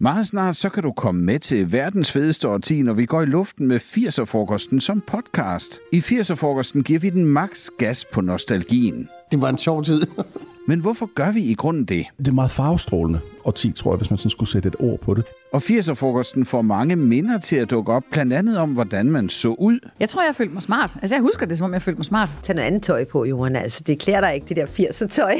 Meget snart så kan du komme med til verdens fedeste årti, når vi går i luften med 80'er-frokosten som podcast. I 80'er-frokosten giver vi den maks gas på nostalgien. Det var en sjov tid. Men hvorfor gør vi i grunden det? Det er meget farvestrålende og 10, tror jeg, hvis man sådan skulle sætte et ord på det. Og 80'er-frokosten får mange minder til at dukke op, blandt andet om, hvordan man så ud. Jeg tror, jeg følte mig smart. Altså, jeg husker det, som om jeg følte mig smart. Tag noget andet tøj på, Johan. Altså, det klæder dig ikke, det der 80'er tøj.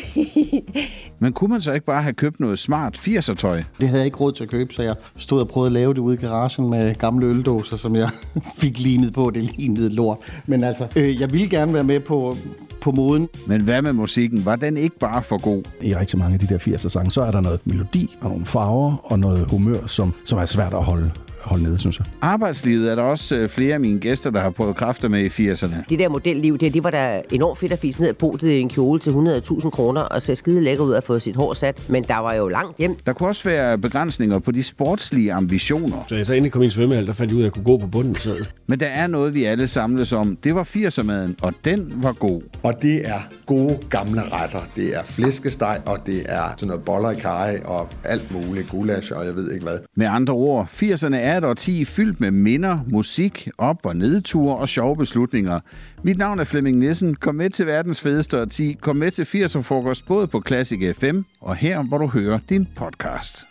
Men kunne man så ikke bare have købt noget smart 80'er-tøj? Det havde jeg ikke råd til at købe, så jeg stod og prøvede at lave det ude i garagen med gamle øldåser, som jeg fik lignet på. Det lignede lort. Men altså, øh, jeg ville gerne være med på, på moden. Men hvad med musikken? Var den ikke bare for god? I rigtig mange af de der 80'er sange, så er der noget melodi og nogle farver og noget humør, som, som er svært at holde, holde nede, synes jeg. Arbejdslivet er der også øh, flere af mine gæster, der har prøvet kræfter med i 80'erne. Det der modelliv, det, det var da enormt fedt at fise ned og bo i en kjole til 100.000 kroner og se skide lækker ud og få sit hår sat. Men der var jo langt hjem. Der kunne også være begrænsninger på de sportslige ambitioner. Så jeg så endelig kom i en svømmehal, der fandt jeg ud af, at jeg kunne gå på bunden. Så Men der er noget, vi alle samles om. Det var 80'er-maden, og den var god. Og det er gode gamle retter. Det er flæskesteg, og det er sådan noget boller i karry, og alt muligt gulasch, og jeg ved ikke hvad. Med andre ord, 80'erne er et årti fyldt med minder, musik, op- og nedture og sjove beslutninger. Mit navn er Flemming Nissen. Kom med til verdens fedeste årti. Kom med til 80'er frokost både på Classic FM og her, hvor du hører din podcast.